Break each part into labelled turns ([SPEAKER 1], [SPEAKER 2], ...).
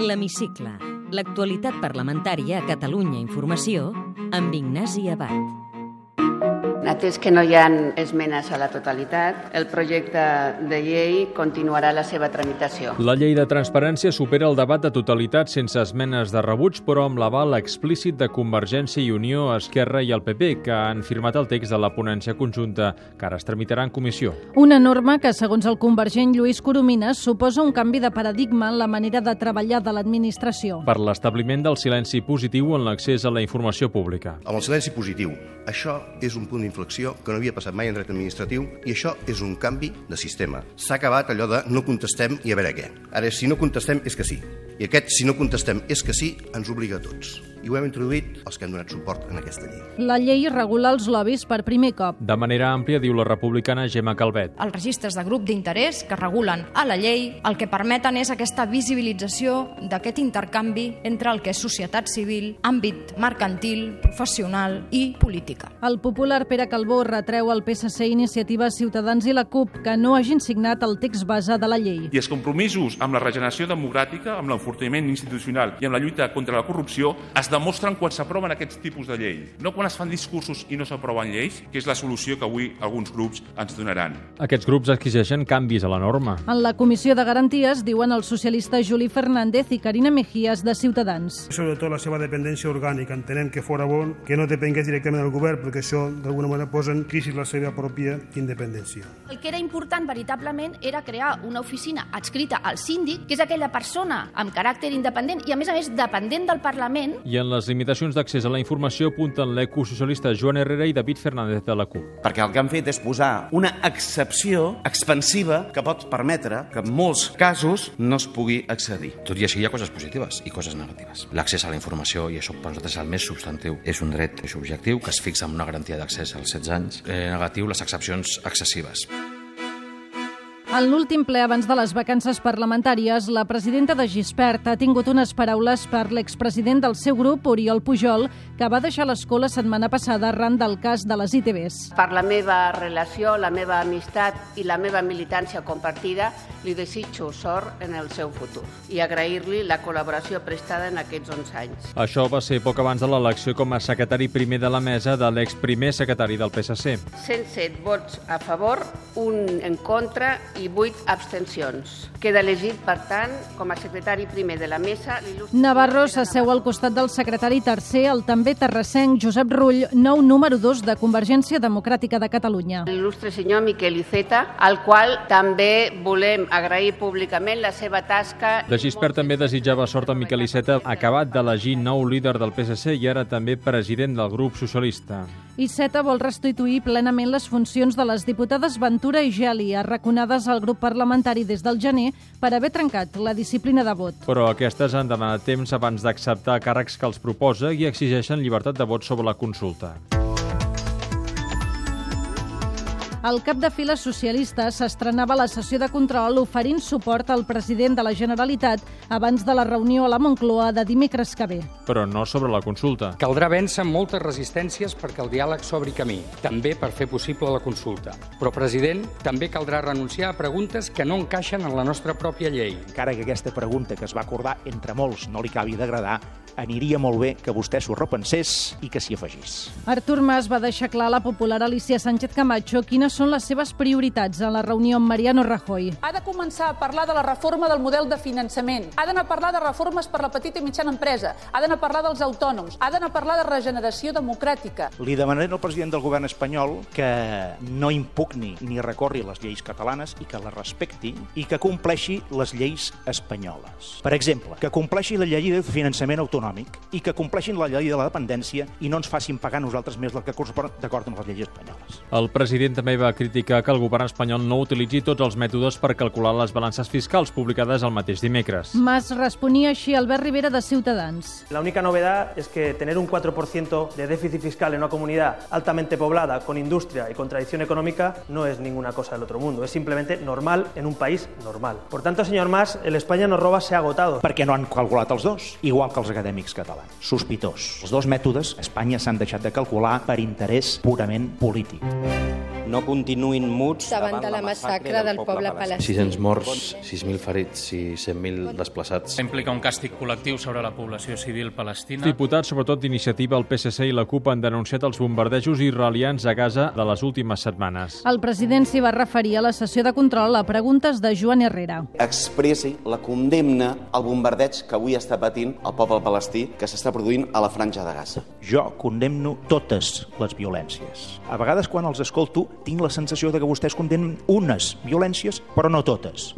[SPEAKER 1] L'Hemicicle. L'actualitat parlamentària a Catalunya Informació amb Ignasi Abad.
[SPEAKER 2] Atès que no hi ha esmenes a la totalitat, el projecte de llei continuarà la seva tramitació.
[SPEAKER 3] La llei de transparència supera el debat de totalitat sense esmenes de rebuig, però amb l'aval explícit de Convergència i Unió, Esquerra i el PP, que han firmat el text de la ponència conjunta, que ara es tramitarà en comissió.
[SPEAKER 4] Una norma que, segons el convergent Lluís Coromines, suposa un canvi de paradigma en la manera de treballar de l'administració.
[SPEAKER 3] Per l'establiment del silenci positiu en l'accés a la informació pública.
[SPEAKER 5] Amb el silenci positiu, això és un punt d'inflexió que no havia passat mai en dret administratiu i això és un canvi de sistema. S'ha acabat allò de no contestem i a veure què. Ara, si no contestem, és que sí. I aquest, si no contestem, és que sí, ens obliga a tots. I ho hem introduït els que hem donat suport en aquesta llei.
[SPEAKER 4] La llei regula els lobbies per primer cop.
[SPEAKER 3] De manera àmplia, diu la republicana Gemma Calvet.
[SPEAKER 6] els registres de grup d'interès que regulen a la llei el que permeten és aquesta visibilització d'aquest intercanvi entre el que és societat civil, àmbit mercantil, professional i política.
[SPEAKER 4] El popular Pere Calbó retreu al PSC Iniciativa Ciutadans i la CUP que no hagin signat el text base de la llei.
[SPEAKER 7] I els compromisos amb la regeneració democràtica, amb l'enfortiment institucional i amb la lluita contra la corrupció es demostren quan s'aproven aquests tipus de lleis, no quan es fan discursos i no s'aproven lleis, que és la solució que avui alguns grups ens donaran.
[SPEAKER 3] Aquests grups exigeixen canvis a la norma.
[SPEAKER 4] En la Comissió de Garanties diuen els socialistes Juli Fernández i Carina Mejías de Ciutadans.
[SPEAKER 8] sobretot la seva dependència orgànica. Entenem que fora bon que no depengués directament del govern, perquè això d'alguna manera posa en crisi la seva pròpia independència.
[SPEAKER 9] El que era important veritablement era crear una oficina adscrita al síndic, que és aquella persona amb caràcter independent i, a més a més, dependent del Parlament,
[SPEAKER 3] I en les limitacions d'accés a la informació apunten l'ecosocialista Joan Herrera i David Fernández de la CUP.
[SPEAKER 10] Perquè el que han fet és posar una excepció expansiva que pot permetre que en molts casos no es pugui accedir.
[SPEAKER 11] Tot i així hi ha coses positives i coses negatives. L'accés a la informació, i això per nosaltres és el més substantiu, és un dret subjectiu que es fixa amb una garantia d'accés als 16 anys. Eh, negatiu, les excepcions excessives.
[SPEAKER 4] En l'últim ple abans de les vacances parlamentàries, la presidenta de Gispert ha tingut unes paraules per l'expresident del seu grup, Oriol Pujol, que va deixar l'escó la setmana passada arran del cas de les ITVs.
[SPEAKER 2] Per la meva relació, la meva amistat i la meva militància compartida, li desitjo sort en el seu futur i agrair-li la col·laboració prestada en aquests 11 anys.
[SPEAKER 3] Això va ser poc abans de l'elecció com a secretari primer de la mesa de l'exprimer secretari del PSC.
[SPEAKER 2] 107 vots a favor, un en contra i 8 abstencions. Queda elegit, per tant, com a secretari primer de la mesa... l'il·lustre-
[SPEAKER 4] Navarro s'asseu al costat del secretari tercer, el també terrassenc Josep Rull, nou número 2 de Convergència Democràtica de Catalunya.
[SPEAKER 2] l'il·lustre senyor Miquel Iceta, al qual també volem agrair públicament la seva tasca.
[SPEAKER 3] De Gispert també desitjava sort a Miquel Iceta, acabat d'elegir nou líder del PSC i ara també president del grup socialista.
[SPEAKER 4] Iceta vol restituir plenament les funcions de les diputades Ventura i Geli, arraconades al grup parlamentari des del gener per haver trencat la disciplina de vot.
[SPEAKER 3] Però aquestes han demanat temps abans d'acceptar càrrecs que els proposa i exigeixen llibertat de vot sobre la consulta.
[SPEAKER 4] El cap de fila socialista s'estrenava a la sessió de control oferint suport al president de la Generalitat abans de la reunió a la Moncloa de dimecres que ve.
[SPEAKER 3] Però no sobre la consulta.
[SPEAKER 12] Caldrà vèncer moltes resistències perquè el diàleg s'obri camí, també per fer possible la consulta. Però, president, també caldrà renunciar a preguntes que no encaixen en la nostra pròpia llei.
[SPEAKER 13] encara que aquesta pregunta que es va acordar entre molts no li acabi d'agradar, aniria molt bé que vostè s'ho repensés i que s'hi afegís.
[SPEAKER 4] Artur Mas va deixar clar a la popular Alicia Sánchez Camacho quines són les seves prioritats en la reunió amb Mariano Rajoy.
[SPEAKER 6] Ha de començar a parlar de la reforma del model de finançament. Ha d'anar a parlar de reformes per la petita i mitjana empresa. Ha d'anar a parlar dels autònoms. Ha d'anar a parlar de regeneració democràtica.
[SPEAKER 13] Li demanaré al president del govern espanyol que no impugni ni recorri les lleis catalanes i que les respecti i que compleixi les lleis espanyoles. Per exemple, que compleixi la llei de finançament autonòmic i que compleixin la llei de la dependència i no ens facin pagar a nosaltres més del que correspon d'acord amb les lleis espanyoles.
[SPEAKER 3] El president també va criticar que el govern espanyol no utilitzi tots els mètodes per calcular les balances fiscals publicades el mateix dimecres.
[SPEAKER 4] Mas responia així a Albert Rivera de Ciutadans.
[SPEAKER 8] La única novedad es que tener un 4% de déficit fiscal en una comunidad altamente poblada, con industria y con tradición económica, no es ninguna cosa del otro mundo. Es simplemente normal en un país normal. Por tanto, señor Mas, el España nos roba se ha agotado.
[SPEAKER 13] Perquè no han calculat els dos, igual que els acadèmics.
[SPEAKER 14] acadèmics catalans. Sospitós. Els dos mètodes a Espanya s'han deixat de calcular per interès purament polític.
[SPEAKER 15] No continuïn muts
[SPEAKER 16] davant de la massacre del poble palestí.
[SPEAKER 11] 600 morts, 6.000 ferits i 100.000 desplaçats.
[SPEAKER 17] Implica un càstig col·lectiu sobre la població civil palestina.
[SPEAKER 3] Diputats, sobretot d'iniciativa, el PSC i la CUP han denunciat els bombardejos israelians a Gaza de les últimes setmanes.
[SPEAKER 4] El president s'hi va referir a la sessió de control a preguntes de Joan Herrera.
[SPEAKER 15] expressi la condemna al bombardeig que avui està patint el poble palestí que s'està produint a la franja de Gaza.
[SPEAKER 14] Jo condemno totes les violències. A vegades quan els escolto tinc la sensació de que vostès condemnen unes violències, però no totes.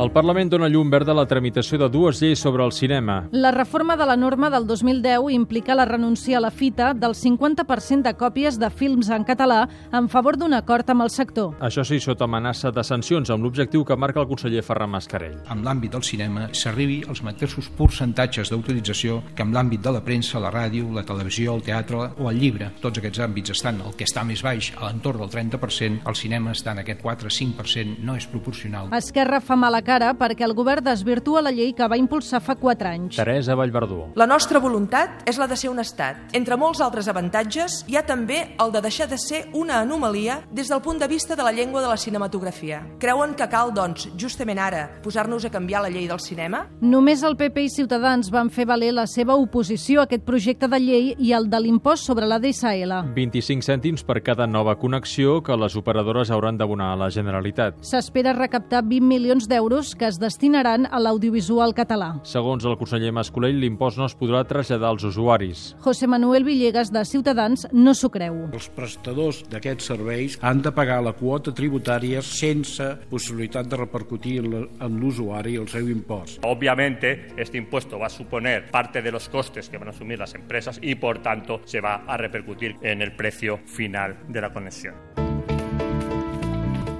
[SPEAKER 3] El Parlament dona llum verda a la tramitació de dues lleis sobre el cinema.
[SPEAKER 4] La reforma de la norma del 2010 implica la renúncia a la fita del 50% de còpies de films en català en favor d'un acord amb el sector.
[SPEAKER 3] Això sí, sota amenaça de sancions, amb l'objectiu que marca el conseller Ferran Mascarell.
[SPEAKER 5] en l'àmbit del cinema s'arribi als mateixos percentatges d'utilització que en l'àmbit de la premsa, la ràdio, la televisió, el teatre o el llibre. Tots aquests àmbits estan el que està més baix, a l'entorn del 30%, el cinema està en aquest 4-5%, no és proporcional.
[SPEAKER 4] Esquerra fa mala cara perquè el govern desvirtua la llei que va impulsar fa 4 anys.
[SPEAKER 3] Teresa Vallverdú.
[SPEAKER 6] La nostra voluntat és la de ser un estat. Entre molts altres avantatges, hi ha també el de deixar de ser una anomalia des del punt de vista de la llengua de la cinematografia. Creuen que cal, doncs, justament ara, posar-nos a canviar la llei del cinema?
[SPEAKER 4] Només el PP i Ciutadans van fer valer la seva oposició a aquest projecte de llei i al de l'impost sobre la DSL.
[SPEAKER 3] 25 cèntims per cada nova connexió que les operadores hauran d'abonar a la Generalitat.
[SPEAKER 4] S'espera recaptar 20 milions d'euros que es destinaran a l'audiovisual català.
[SPEAKER 3] Segons el conseller Mascolell, l'impost no es podrà traslladar als usuaris.
[SPEAKER 4] José Manuel Villegas, de Ciutadans, no s'ho creu.
[SPEAKER 18] Els prestadors d'aquests serveis han de pagar la quota tributària sense possibilitat de repercutir en la- en l'usuari el seu impost.
[SPEAKER 19] Obviamente, este impuesto va a suponer parte de los costes que van a asumir las empresas y, por tanto, se va a repercutir en el precio final de la conexión.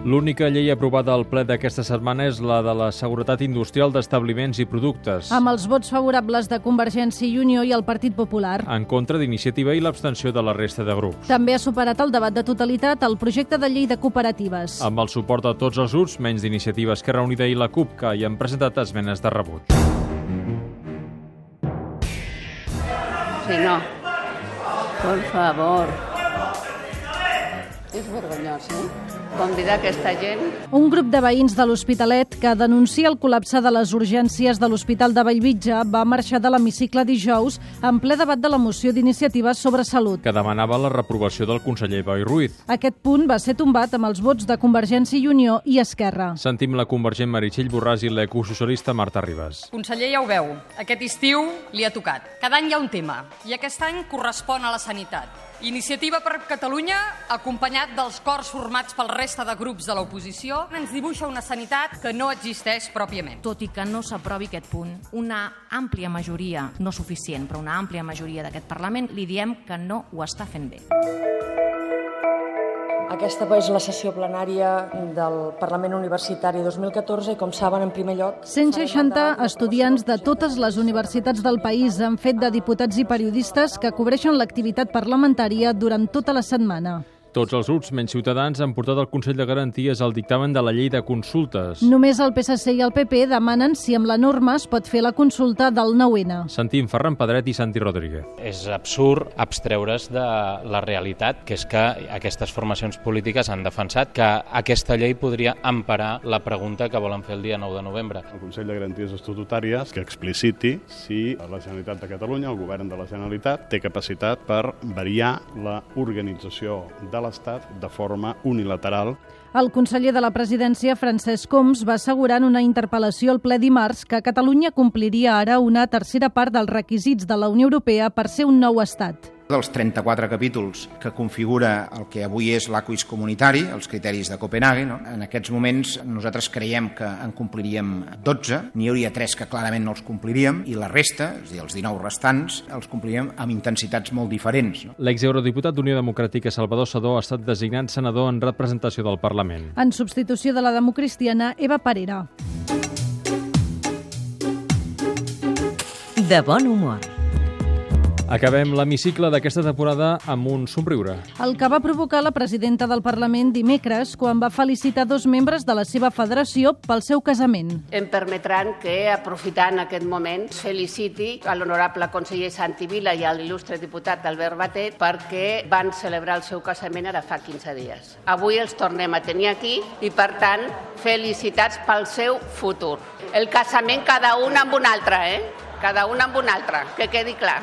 [SPEAKER 3] L'única llei aprovada al ple d'aquesta setmana és la de la seguretat industrial d'establiments i productes,
[SPEAKER 4] Amb els vots favorables de Convergència i Unió i el Partit Popular,
[SPEAKER 3] en contra d'iniciativa i l'abstenció de la resta de grups.
[SPEAKER 4] també ha superat el debat de totalitat el projecte de llei de cooperatives.
[SPEAKER 3] Amb el suport de tots els grups, menys d'iniciativa Esquerra Unida i la CUP, que hi han presentat esmenes de rebuig.
[SPEAKER 2] Sí, no. Por favor. És vergonyós, eh? Convidar aquesta gent...
[SPEAKER 4] Un grup de veïns de l'Hospitalet que denuncia el col·lapse de les urgències de l'Hospital de Vallvitge va marxar de l'hemicicle dijous en ple debat de la moció d'iniciatives sobre salut.
[SPEAKER 3] que demanava la reprovació del conseller Boi Ruiz.
[SPEAKER 4] Aquest punt va ser tombat amb els vots de Convergència i Unió i Esquerra.
[SPEAKER 3] Sentim la convergent Meritxell Borràs i l'ecosocialista Marta Ribas.
[SPEAKER 20] Conseller, ja ho veu, aquest estiu li ha tocat. Cada any hi ha un tema, i aquest any correspon a la sanitat. Iniciativa per Catalunya, acompanyat dels cors formats pel resta de grups de l'oposició, ens dibuixa una sanitat que no existeix pròpiament.
[SPEAKER 21] Tot i que no s'aprovi aquest punt, una àmplia majoria, no suficient, però una àmplia majoria d'aquest Parlament, li diem que no ho està fent bé.
[SPEAKER 22] Aquesta és la sessió plenària del Parlament Universitari 2014 i, com saben, en primer lloc...
[SPEAKER 4] 160 estudiants de totes les universitats del país han fet de diputats i periodistes que cobreixen l'activitat parlamentària durant tota la setmana.
[SPEAKER 3] Tots els grups, menys Ciutadans, han portat al Consell de Garanties el dictamen de la llei de consultes.
[SPEAKER 4] Només el PSC i el PP demanen si amb la norma es pot fer la consulta del 9-N.
[SPEAKER 3] Sentim Ferran Pedret i Santi Rodríguez.
[SPEAKER 23] És absurd abstreure's de la realitat, que és que aquestes formacions polítiques han defensat que aquesta llei podria emparar la pregunta que volen fer el dia 9 de novembre.
[SPEAKER 24] El Consell de Garanties Estatutàries que expliciti si la Generalitat de Catalunya, el govern de la Generalitat, té capacitat per variar la organització de l'Estat de forma unilateral.
[SPEAKER 4] El conseller de la presidència, Francesc Coms, va assegurar en una interpel·lació al ple dimarts que Catalunya compliria ara una tercera part dels requisits de la Unió Europea per ser un nou estat.
[SPEAKER 25] dels 34 capítols que configura el que avui és l'Aquis Comunitari, els criteris de Copenhague, no? en aquests moments nosaltres creiem que en compliríem 12, n'hi hauria 3 que clarament no els compliríem, i la resta, és a dir, els 19 restants, els compliríem amb intensitats molt diferents. No?
[SPEAKER 3] L'ex-eurodiputat d'Unió Democràtica Salvador Sadó ha estat designat senador en representació del Parlament.
[SPEAKER 4] En substitució de la democristiana, Eva Parera.
[SPEAKER 1] De bon humor.
[SPEAKER 3] Acabem l'hemicicle d'aquesta temporada amb un somriure.
[SPEAKER 4] El que va provocar la presidenta del Parlament dimecres quan va felicitar dos membres de la seva federació pel seu casament.
[SPEAKER 2] Em permetran que, aprofitant aquest moment, feliciti a l'honorable conseller Santi Vila i a l'il·lustre diputat Albert Batet perquè van celebrar el seu casament ara fa 15 dies. Avui els tornem a tenir aquí i, per tant, felicitats pel seu futur. El casament cada un amb un altre, eh? Cada un amb un altre, que quedi clar.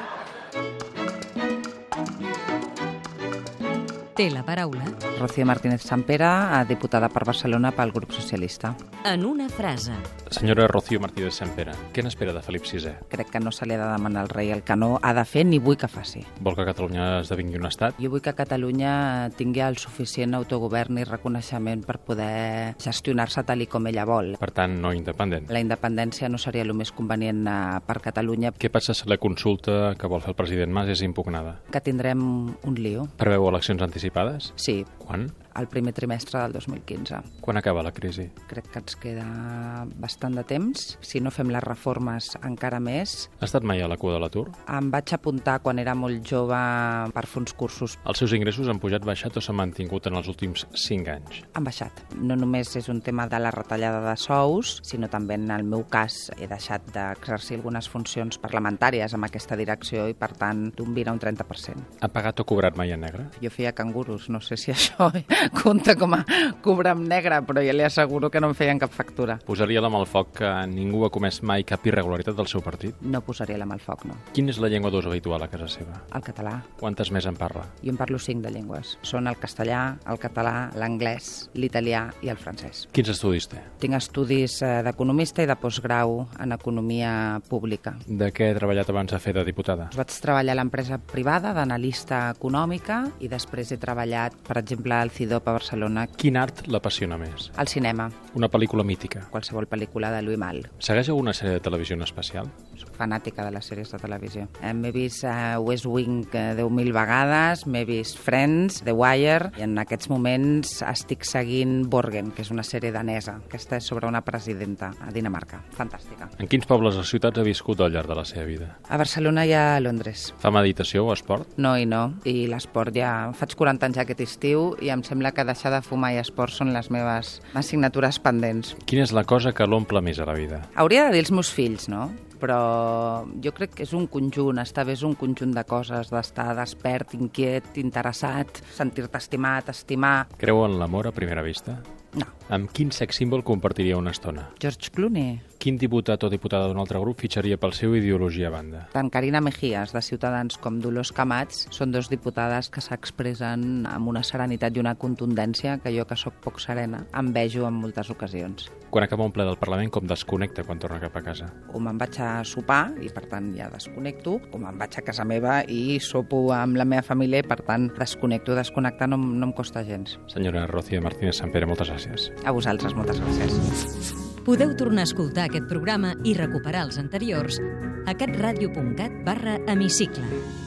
[SPEAKER 1] Té la paraula
[SPEAKER 13] Rocío Martínez Sampera, diputada per Barcelona pel grup socialista.
[SPEAKER 1] en una frase.
[SPEAKER 3] Senyora Rocío Martínez Sempere, què n'espera de Felip VI?
[SPEAKER 13] Crec que no se li ha de demanar al rei el que no ha de fer ni vull que faci.
[SPEAKER 3] Vol que Catalunya esdevingui un estat?
[SPEAKER 13] Jo vull que Catalunya tingui el suficient autogovern i reconeixement per poder gestionar-se tal i com ella vol.
[SPEAKER 3] Per tant, no independent.
[SPEAKER 13] La independència no seria el més convenient eh, per Catalunya,
[SPEAKER 3] Què passa si la consulta que vol fer el president Mas és impugnada?
[SPEAKER 13] que tindrem un lío.
[SPEAKER 3] Preveu eleccions anticipades?
[SPEAKER 13] Sí,
[SPEAKER 3] Quan?
[SPEAKER 13] el primer trimestre del 2015.
[SPEAKER 3] Quan acaba la crisi?
[SPEAKER 13] Crec que ens queda bastant de temps. Si no fem les reformes encara més,
[SPEAKER 3] Ha estat mai a la cua de l'atur?
[SPEAKER 13] em vaig apuntar quan era molt jove per fer uns cursos.
[SPEAKER 3] Els seus ingressos han pujat, baixat o s'han mantingut en els últims 5 anys?
[SPEAKER 13] Han baixat. No només és un tema de la retallada de sous, sinó també en el meu cas he deixat d'exercir algunes funcions parlamentàries amb aquesta direcció i, per tant, d'un 20 a un 30%.
[SPEAKER 3] Ha pagat o cobrat mai en negre?
[SPEAKER 13] Jo feia cangurus, no sé si això compta com a cobra en negre, però ja li asseguro que no em feien cap factura.
[SPEAKER 3] Posaria la mà al foc que ningú ha comès mai cap irregularitat del seu partit?
[SPEAKER 13] No posaria la mà al foc, no.
[SPEAKER 3] Quina és la llengua d'ús habitual a casa seva?
[SPEAKER 13] El català.
[SPEAKER 3] Quantes més en parla?
[SPEAKER 13] Jo en parlo cinc de llengües. Són el castellà, el català, l'anglès, l'italià i el francès.
[SPEAKER 3] Quins estudis té?
[SPEAKER 13] Tinc estudis eh, d'economista i de postgrau en economia pública.
[SPEAKER 3] De què ha treballat abans de fer de diputada?
[SPEAKER 13] Vaig treballar a l'empresa privada d'analista econòmica i després he treballat, per exemple, al CIDOP a Barcelona,
[SPEAKER 3] Quin art l'apassiona més?
[SPEAKER 13] al cinema,
[SPEAKER 3] Una pel·lícula mítica.
[SPEAKER 13] qualsevol pel·lícula de Louis Mal.
[SPEAKER 3] Segueix alguna sèrie de televisió en especial?
[SPEAKER 13] Soc fanàtica de les sèries de televisió. Eh, M'he vist eh, West Wing eh, 10.000 vegades, m'he vist Friends, The Wire, i en aquests moments estic seguint Borgen, que és una sèrie danesa. Aquesta és sobre una presidenta a Dinamarca. Fantàstica.
[SPEAKER 3] En quins pobles o ciutats ha viscut al llarg de la seva vida?
[SPEAKER 13] A Barcelona i a Londres.
[SPEAKER 3] Fa meditació o esport?
[SPEAKER 13] No i no. I l'esport ja... Faig 40 anys aquest estiu i em sembla que deixar de fumar i esport són les meves assignatures pendents.
[SPEAKER 3] Quina és la cosa que l'omple més a la vida?
[SPEAKER 13] Hauria de dir els meus fills, no? Però jo crec que és un conjunt, estar bé és un conjunt de coses, d'estar despert, inquiet, interessat, sentir-te estimat, estimar...
[SPEAKER 3] Creu en l'amor a primera vista?
[SPEAKER 13] No.
[SPEAKER 3] Amb quin sex símbol compartiria una estona?
[SPEAKER 13] George Clooney,
[SPEAKER 3] Quin diputat o diputada d'un altre grup fitxaria pel seu ideologia a banda?
[SPEAKER 13] tant Carina Mejías de Ciutadans com Dolors Camats són dos diputades que s'expressen amb una serenitat i una contundència que jo, que sóc poc serena, em vejo en moltes ocasions.
[SPEAKER 3] Quan acaba un ple del Parlament, com desconnecta quan torna cap a casa?
[SPEAKER 13] o me'n vaig a sopar i per tant ja desconnecto, o me'n vaig a casa meva i sopo amb la meva família i per tant desconnecto, desconnectar no, em- no em costa gens.
[SPEAKER 3] Senyora Rocío Martínez Sampere, moltes gràcies.
[SPEAKER 13] A vosaltres, moltes gràcies.
[SPEAKER 1] Podeu tornar a escoltar aquest programa i recuperar els anteriors a catradio.cat barra hemicicle.